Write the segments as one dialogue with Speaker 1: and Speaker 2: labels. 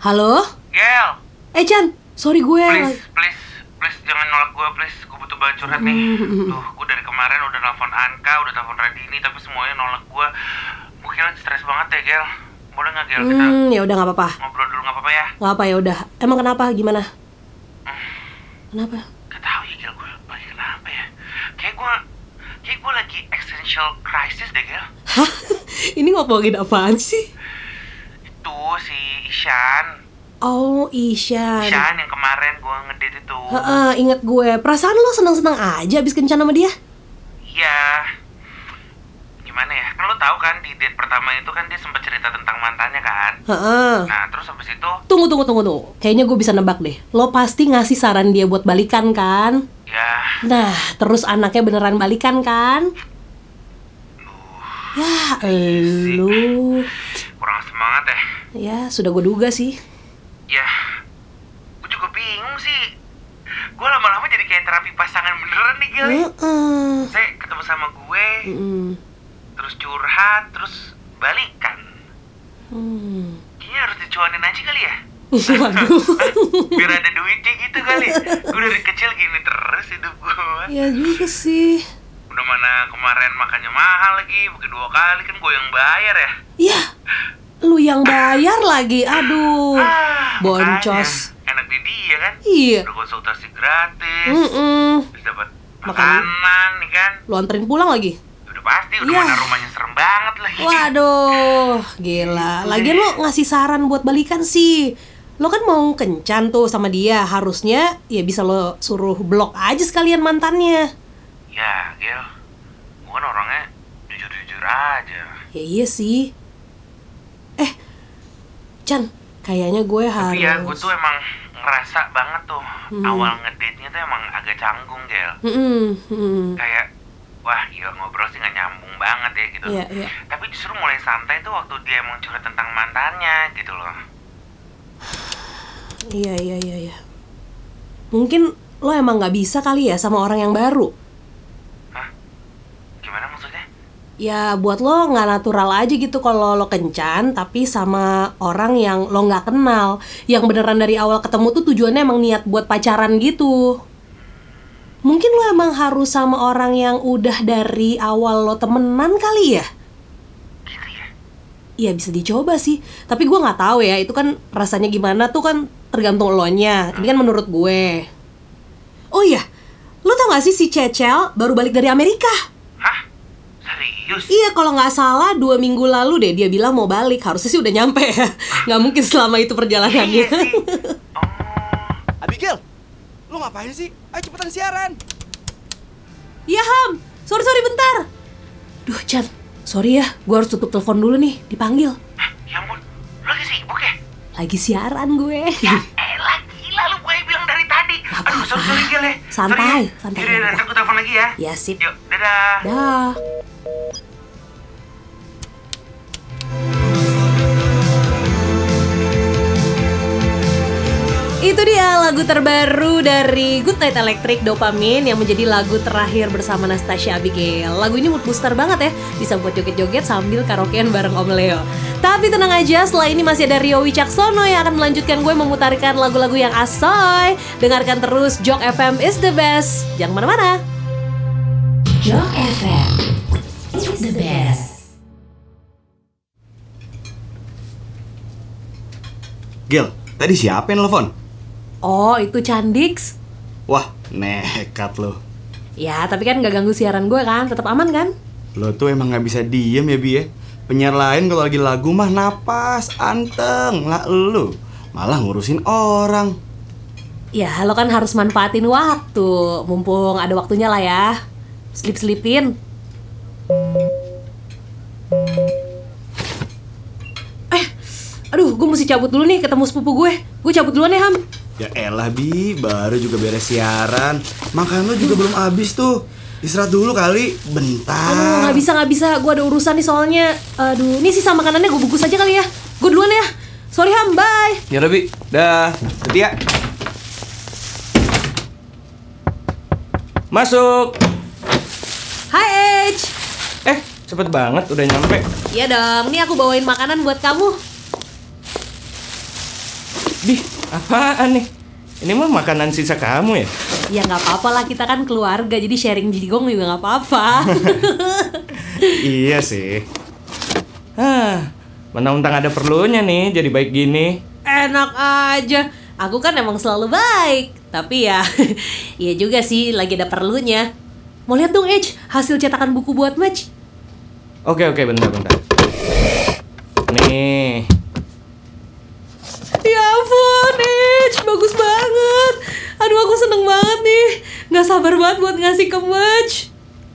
Speaker 1: Halo?
Speaker 2: Gel,
Speaker 1: Eh Chan, sorry gue
Speaker 2: please, please, please jangan nolak gue, please. Gue butuh banget curhat nih. Tuh, gue dari kemarin udah nelfon Anka, udah telepon Radini, tapi semuanya nolak gue. Mungkin lagi stres banget ya, Gel. Boleh nggak, Gel, kita
Speaker 1: Hmm, ya udah nggak apa-apa.
Speaker 2: ngobrol dulu nggak apa-apa ya?
Speaker 1: Nggak apa ya udah. Emang kenapa? Gimana? Kenapa?
Speaker 2: Gak tau ya, Gel, gue lagi kenapa ya? Kayak gue, kayak gue lagi existential crisis deh, Gel.
Speaker 1: Hah? Ini ngomongin apaan sih?
Speaker 2: Itu si Ishan,
Speaker 1: Oh, Ishan.
Speaker 2: Ishan yang kemarin gue ngedate itu.
Speaker 1: Heeh, ingat gue. Perasaan lo seneng-seneng aja abis kencan sama dia?
Speaker 2: Iya. Gimana ya? Kan lo tau kan di date pertama itu kan dia sempat cerita tentang mantannya kan?
Speaker 1: Heeh.
Speaker 2: Nah, terus habis itu
Speaker 1: Tunggu, tunggu, tunggu, tunggu. Kayaknya gue bisa nebak deh. Lo pasti ngasih saran dia buat balikan kan?
Speaker 2: ya
Speaker 1: Nah, terus anaknya beneran balikan kan? Ya, elu.
Speaker 2: kurang semangat ya.
Speaker 1: Ya, sudah gue duga sih.
Speaker 2: Ya, gue juga bingung sih. Gue lama-lama jadi kayak terapi pasangan beneran nih, Gil.
Speaker 1: Heeh. Hmm.
Speaker 2: Saya ketemu sama gue,
Speaker 1: Mm-mm.
Speaker 2: terus curhat, terus balikan.
Speaker 1: Hmm.
Speaker 2: Kayaknya harus dicuanin aja kali ya.
Speaker 1: Waduh.
Speaker 2: Biar ada duitnya gitu kali. Gue dari kecil gini terus hidup gue.
Speaker 1: ya juga sih.
Speaker 2: Udah mana kemarin makannya mahal lagi, kedua kali kan gue yang bayar ya.
Speaker 1: Ya, lu yang bayar lagi. Aduh.
Speaker 2: Ah,
Speaker 1: Boncos.
Speaker 2: makanya. Enak di dia kan.
Speaker 1: Iya.
Speaker 2: Udah konsultasi gratis.
Speaker 1: Mm-mm.
Speaker 2: Terus dapat
Speaker 1: Makanan.
Speaker 2: makanan nih kan.
Speaker 1: Lu anterin pulang lagi.
Speaker 2: Udah pasti udah
Speaker 1: Iya.
Speaker 2: mana rumahnya serem banget lagi.
Speaker 1: Waduh, gila. Lagian lu ngasih saran buat balikan sih. Lo kan mau kencan tuh sama dia, harusnya ya bisa lo suruh blok aja sekalian mantannya.
Speaker 2: Ya, Gil. Gue kan orangnya jujur-jujur aja.
Speaker 1: Ya iya sih. Eh, Chan, kayaknya gue harus. Hmm.
Speaker 2: Tapi ya gue tuh emang ngerasa banget tuh awal ngedate-nya tuh emang agak canggung, Gil.
Speaker 1: Mm-mm, mm-mm.
Speaker 2: Kayak wah, gila ngobrol sih gak nyambung banget ya gitu.
Speaker 1: Iya, iya.
Speaker 2: Tapi justru mulai santai tuh waktu dia emang curhat tentang mantannya gitu loh.
Speaker 1: Iya iya iya iya. Mungkin lo emang nggak bisa kali ya sama orang yang baru.
Speaker 2: Hah? Gimana maksudnya?
Speaker 1: Ya buat lo nggak natural aja gitu kalau lo kencan tapi sama orang yang lo nggak kenal, yang beneran dari awal ketemu tuh tujuannya emang niat buat pacaran gitu. Mungkin lo emang harus sama orang yang udah dari awal lo temenan kali ya?
Speaker 2: Gitu ya?
Speaker 1: Iya bisa dicoba sih, tapi gua nggak tahu ya itu kan rasanya gimana tuh kan tergantung elonya. Ini kan menurut gue. Oh iya, lo tau gak sih si Cecel baru balik dari Amerika?
Speaker 2: Hah? Serius?
Speaker 1: Iya kalau nggak salah dua minggu lalu deh dia bilang mau balik, harusnya sih udah nyampe ya. Nggak mungkin selama itu perjalanannya.
Speaker 2: Iya sih. Oh,
Speaker 3: Abigail, lu ngapain sih? Ayo cepetan siaran.
Speaker 1: Iya Ham, sorry sorry bentar. Duh Chan, sorry ya, gue harus tutup telepon dulu nih, dipanggil.
Speaker 2: Hah, ya ampun, lu lagi sibuk ya?
Speaker 1: Lagi siaran gue.
Speaker 2: Elah, Eh, gila lu gue bilang dari tadi Aduh, sorry, sorry Gil ya
Speaker 1: Santai,
Speaker 2: Sorry ya.
Speaker 1: santai.
Speaker 2: Yaudah, nanti aku telepon lagi ya
Speaker 1: ya sip.
Speaker 2: Yuk, dadah
Speaker 1: Dah. Itu dia lagu terbaru dari Good Night Electric Dopamin yang menjadi lagu terakhir bersama Nastasia Abigail. Lagu ini mood booster banget ya, bisa buat joget-joget sambil karaokean bareng Om Leo. Tapi tenang aja, setelah ini masih ada Rio Wicaksono yang akan melanjutkan gue memutarkan lagu-lagu yang asoy. Dengarkan terus Jok FM is the best. Jangan kemana-mana.
Speaker 4: Rock FM. It's the best.
Speaker 5: Gil, tadi siapa yang telepon?
Speaker 1: Oh, itu Candix.
Speaker 5: Wah, nekat lo.
Speaker 1: Ya, tapi kan nggak ganggu siaran gue kan, tetap aman kan?
Speaker 5: Lo tuh emang nggak bisa diem ya, Bi ya? Penyiar lain kalau lagi lagu mah napas, anteng, lah lo. Malah ngurusin orang.
Speaker 1: Ya, lo kan harus manfaatin waktu, mumpung ada waktunya lah ya. Slip-slipin. Eh, aduh, gue mesti cabut dulu nih ketemu sepupu gue. Gue cabut duluan ya, Ham.
Speaker 5: Ya elah, Bi. Baru juga beres siaran. Makan lo juga belum habis tuh. Istirahat dulu kali.
Speaker 1: Aduh,
Speaker 6: Ah.
Speaker 5: Bentar.
Speaker 1: nggak bisa, nggak bisa. Gue ada urusan nih soalnya. Aduh, ini sisa makanannya gue bungkus aja kali ya. Gue duluan ya. Sorry, Ham. Bye.
Speaker 3: Ya Bi. Dah. Setia. Masuk.
Speaker 1: Hai, Age.
Speaker 3: Eh, cepet banget udah nyampe.
Speaker 1: Iya dong, ini aku bawain makanan buat kamu.
Speaker 6: Dih, apaan nih? Ini mah makanan sisa kamu ya?
Speaker 1: Ya nggak apa-apa lah kita kan keluarga jadi sharing jigong juga nggak apa-apa.
Speaker 6: iya sih. Ah, mana untang ada perlunya nih jadi baik gini.
Speaker 1: Enak aja. Aku kan emang selalu baik. Tapi ya, iya juga sih lagi ada perlunya. Mau lihat dong Edge, hasil cetakan buku buat match.
Speaker 6: Oke, oke, bentar, bentar. Nih,
Speaker 1: Ya ampun, Edge, bagus banget. Aduh aku seneng banget nih. Nggak sabar banget buat ngasih ke match.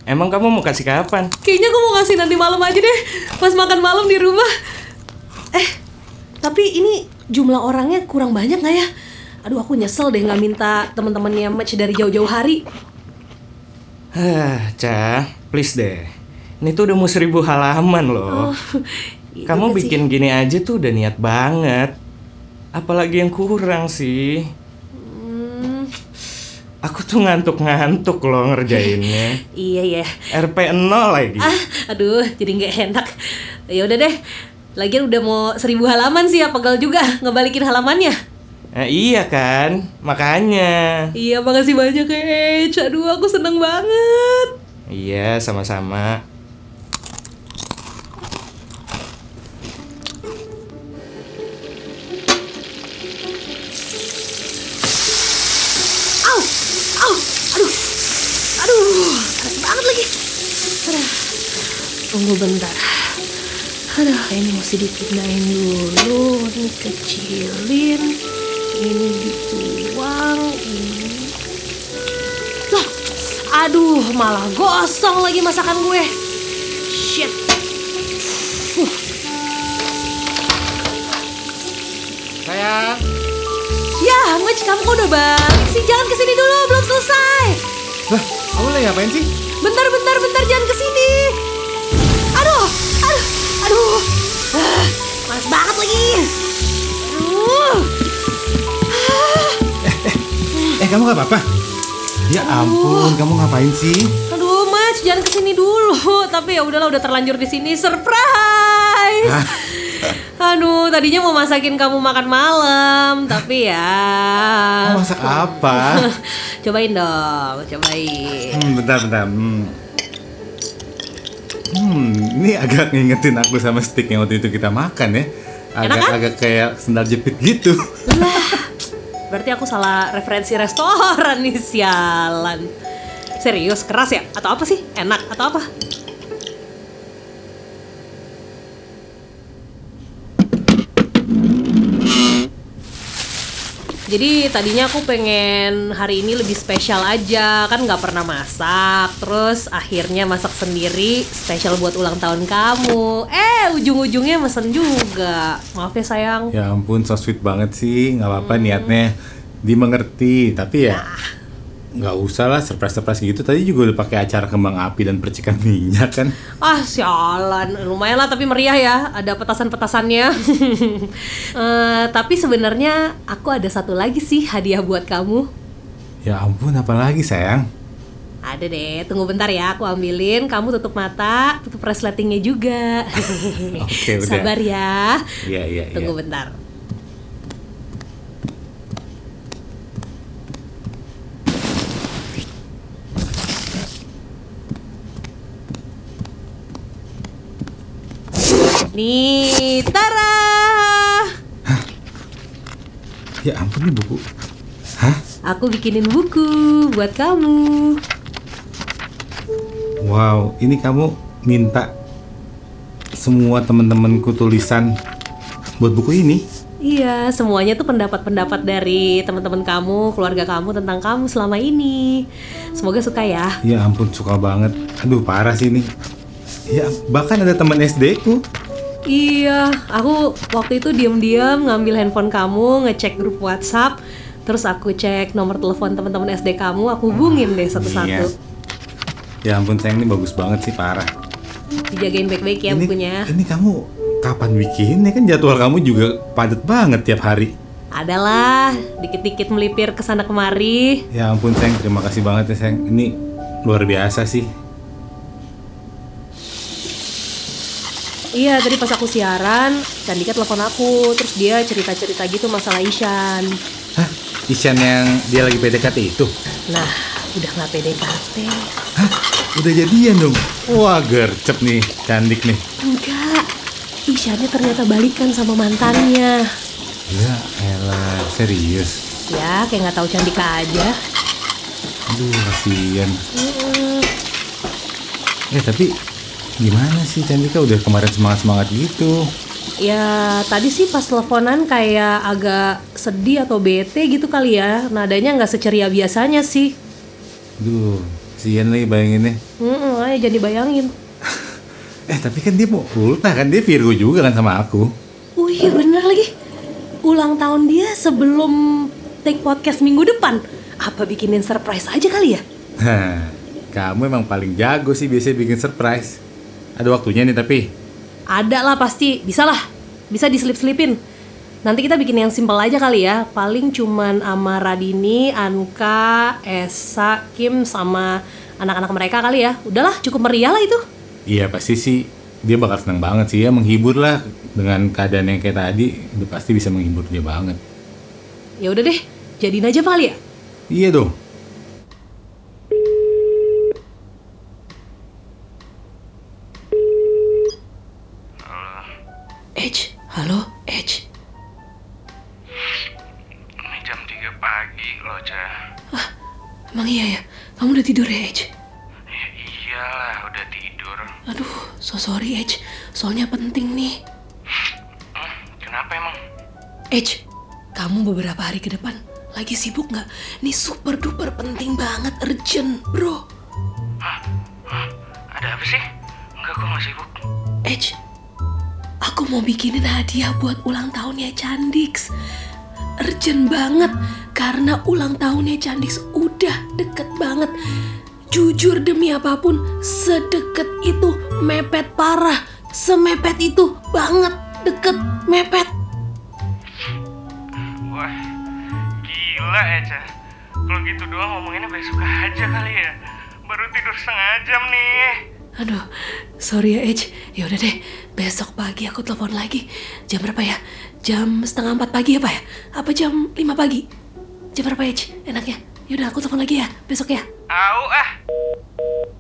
Speaker 6: emang kamu mau kasih kapan?
Speaker 1: Kayaknya aku mau ngasih nanti malam aja deh, pas makan malam di rumah. Eh, tapi ini jumlah orangnya kurang banyak nggak ya? Aduh, aku nyesel deh nggak minta teman-temannya match dari jauh-jauh hari.
Speaker 6: Ah, Cah, please deh. Ini tuh udah mau seribu halaman loh.
Speaker 1: Oh, Iya
Speaker 6: Oh.
Speaker 1: juga
Speaker 6: kamu
Speaker 1: sih.
Speaker 6: bikin gini aja tuh udah niat banget. Apalagi yang kurang sih.
Speaker 1: Hmm,
Speaker 6: Aku tuh ngantuk-ngantuk loh ngerjainnya.
Speaker 1: iya ya.
Speaker 6: RP 0 lagi.
Speaker 1: Ah, aduh, jadi nggak enak. Ya udah deh. Lagian udah mau seribu halaman sih ya, pegal juga ngebalikin halamannya.
Speaker 6: Nah, iya kan, makanya.
Speaker 1: Iya, makasih banyak ya, Edge. Aduh, aku seneng banget.
Speaker 6: Iya, sama-sama.
Speaker 1: Au, au, aduh, aduh, keras banget lagi. Aduh. Tunggu bentar. Aduh, ini mesti dipindahin dulu. Ini kecilin, ini dituang, ini. Loh, aduh, malah gosong lagi masakan gue. Shit. Fuh.
Speaker 6: Sayang.
Speaker 1: Ya, Mitch, kamu kok udah balik sih? Jangan kesini dulu, belum selesai.
Speaker 6: Lah, kamu lagi ngapain sih?
Speaker 1: Bentar, bentar, bentar, jangan ke sini. Aduh, aduh, aduh. Ah, Males banget lagi. Aduh.
Speaker 7: Eh kamu gak apa-apa?
Speaker 5: Ya ampun, kamu ngapain sih?
Speaker 1: Aduh, Mas, jangan ke sini dulu. Tapi ya udahlah, udah terlanjur di sini. Surprise.
Speaker 7: Ah.
Speaker 1: Aduh, tadinya mau masakin kamu makan malam, tapi ya.
Speaker 7: Mau masak apa?
Speaker 1: cobain dong, cobain.
Speaker 7: Hmm, bentar, bentar. Hmm. Hmm, ini agak ngingetin aku sama steak yang waktu itu kita makan ya. Agak
Speaker 1: Enak kan?
Speaker 7: agak kayak sendal jepit gitu.
Speaker 1: Berarti aku salah referensi restoran nih, sialan. Serius, keras ya? Atau apa sih? Enak atau apa? Jadi tadinya aku pengen hari ini lebih spesial aja, kan nggak pernah masak. Terus akhirnya masak sendiri, spesial buat ulang tahun kamu. Eh, ujung-ujungnya mesen juga. Maaf ya sayang.
Speaker 7: ya ampun, so sweet banget sih. Gak apa-apa niatnya dimengerti, tapi ya nggak usah lah surprise-surprise gitu. Tadi juga udah pakai acara kembang api dan percikan minyak kan.
Speaker 1: Ah, sialan. Lumayan lah tapi meriah ya. Ada petasan-petasannya. Eh, tapi sebenarnya aku ada satu lagi sih hadiah buat kamu.
Speaker 7: Ya ampun, apalagi sayang.
Speaker 1: Ada deh, tunggu bentar ya. Aku ambilin, kamu tutup mata, tutup resletingnya juga.
Speaker 7: Oke, udah.
Speaker 1: Sabar ya.
Speaker 7: Iya, iya, iya.
Speaker 1: Tunggu bentar. Nih, Tara.
Speaker 7: Ya ampun, ini buku. Hah?
Speaker 1: Aku bikinin buku buat kamu.
Speaker 7: Wow, ini kamu minta semua temen-temenku tulisan buat buku ini?
Speaker 1: Iya, semuanya tuh pendapat-pendapat dari teman-teman kamu, keluarga kamu tentang kamu selama ini. Semoga suka ya.
Speaker 7: Ya ampun, suka banget. Aduh, parah sih ini. Ya, bahkan ada teman SD ku.
Speaker 1: Iya, aku waktu itu diam-diam ngambil handphone kamu, ngecek grup WhatsApp, terus aku cek nomor telepon teman-teman SD kamu, aku hubungin deh
Speaker 7: Iya.
Speaker 1: satu-satu.
Speaker 7: Ya ampun, sayang ini bagus banget sih, parah.
Speaker 1: Dijagain baik-baik ya
Speaker 7: ini,
Speaker 1: bukunya.
Speaker 7: Ini kamu kapan bikinnya? Kan jadwal kamu juga padat banget tiap hari.
Speaker 1: Adalah dikit-dikit melipir ke sana kemari.
Speaker 7: Ya ampun, sayang terima kasih banget ya, sayang. Ini luar biasa sih.
Speaker 1: Iya, tadi pas aku siaran, Candika telepon aku, terus dia cerita-cerita gitu masalah Ishan.
Speaker 7: Hah? Isyan yang dia lagi PDKT itu?
Speaker 1: Nah, udah nggak PDKT.
Speaker 7: Hah? Udah jadian dong? Wah gercep nih, cantik nih
Speaker 1: Enggak, Ishannya ternyata balikan sama mantannya.
Speaker 7: Ya elah, serius
Speaker 1: Ya, kayak nggak tahu Candika aja.
Speaker 7: Aduh, kasihan
Speaker 1: Mm-mm.
Speaker 7: Eh tapi gimana sih Cantika udah kemarin semangat-semangat gitu
Speaker 1: Ya, tadi sih pas teleponan kayak agak sedih atau bete gitu kali ya. Nadanya nggak seceria biasanya sih.
Speaker 7: Aduh, kasihan lagi bayanginnya
Speaker 1: Mm-mm, ayo jadi bayangin.
Speaker 7: Eh tapi kan dia mau ultah kan, dia Virgo juga kan sama aku
Speaker 1: Wih, Oh iya, bener lagi. Ulang tahun dia sebelum take podcast minggu depan. Apa bikinin surprise aja kali ya?
Speaker 7: Hah, kamu emang paling jago sih biasanya bikin surprise Ada waktunya nih tapi
Speaker 1: Ada lah pasti, bisa lah. Bisa diselip-selipin. Nanti kita bikin yang simpel aja kali ya. Paling cuman sama Radini, Anka, Esa, Kim, sama anak-anak mereka kali ya. Udahlah, cukup meriah lah itu.
Speaker 7: Iya pasti sih dia bakal senang banget sih ya menghibur lah dengan keadaan yang kayak tadi udah pasti bisa menghibur dia banget
Speaker 1: Ya udah deh, jadiin aja kali ya.
Speaker 7: iya dong
Speaker 1: Edge, halo, Edge.
Speaker 2: Ini jam 3 pagi loh, Cah.
Speaker 1: Emang iya ya? Kamu udah tidur ya, Edge?
Speaker 2: Ya iyalah, udah tidur.
Speaker 1: Aduh, so sorry, Edge. Soalnya penting nih.
Speaker 2: Hmm, kenapa emang?
Speaker 1: Edge, kamu beberapa hari ke depan lagi sibuk nggak? Ini super duper penting banget, urgent, bro.
Speaker 2: Hah, ada apa sih? Enggak, gue gak sibuk.
Speaker 1: Edge, Eh, aku mau bikinin hadiah buat ulang tahunnya Candix. Urgent banget, karena ulang tahunnya Candix udah deket banget. Jujur demi apapun, sedekat itu mepet parah. Semepet itu banget, deket, mepet.
Speaker 2: Wah, gila ya, Cah. Kalau gitu doang ngomonginnya besok aja kali ya. Baru tidur setengah jam nih.
Speaker 1: Aduh, sorry ya Edge. Ya udah deh, besok pagi aku telepon lagi. Jam berapa ya? Jam setengah empat pagi ya, Pak ya? Apa jam lima pagi? ya, Jam berapa Edge? Enaknya? Yaudah, aku telepon lagi ya, besok ya.
Speaker 2: Au ah.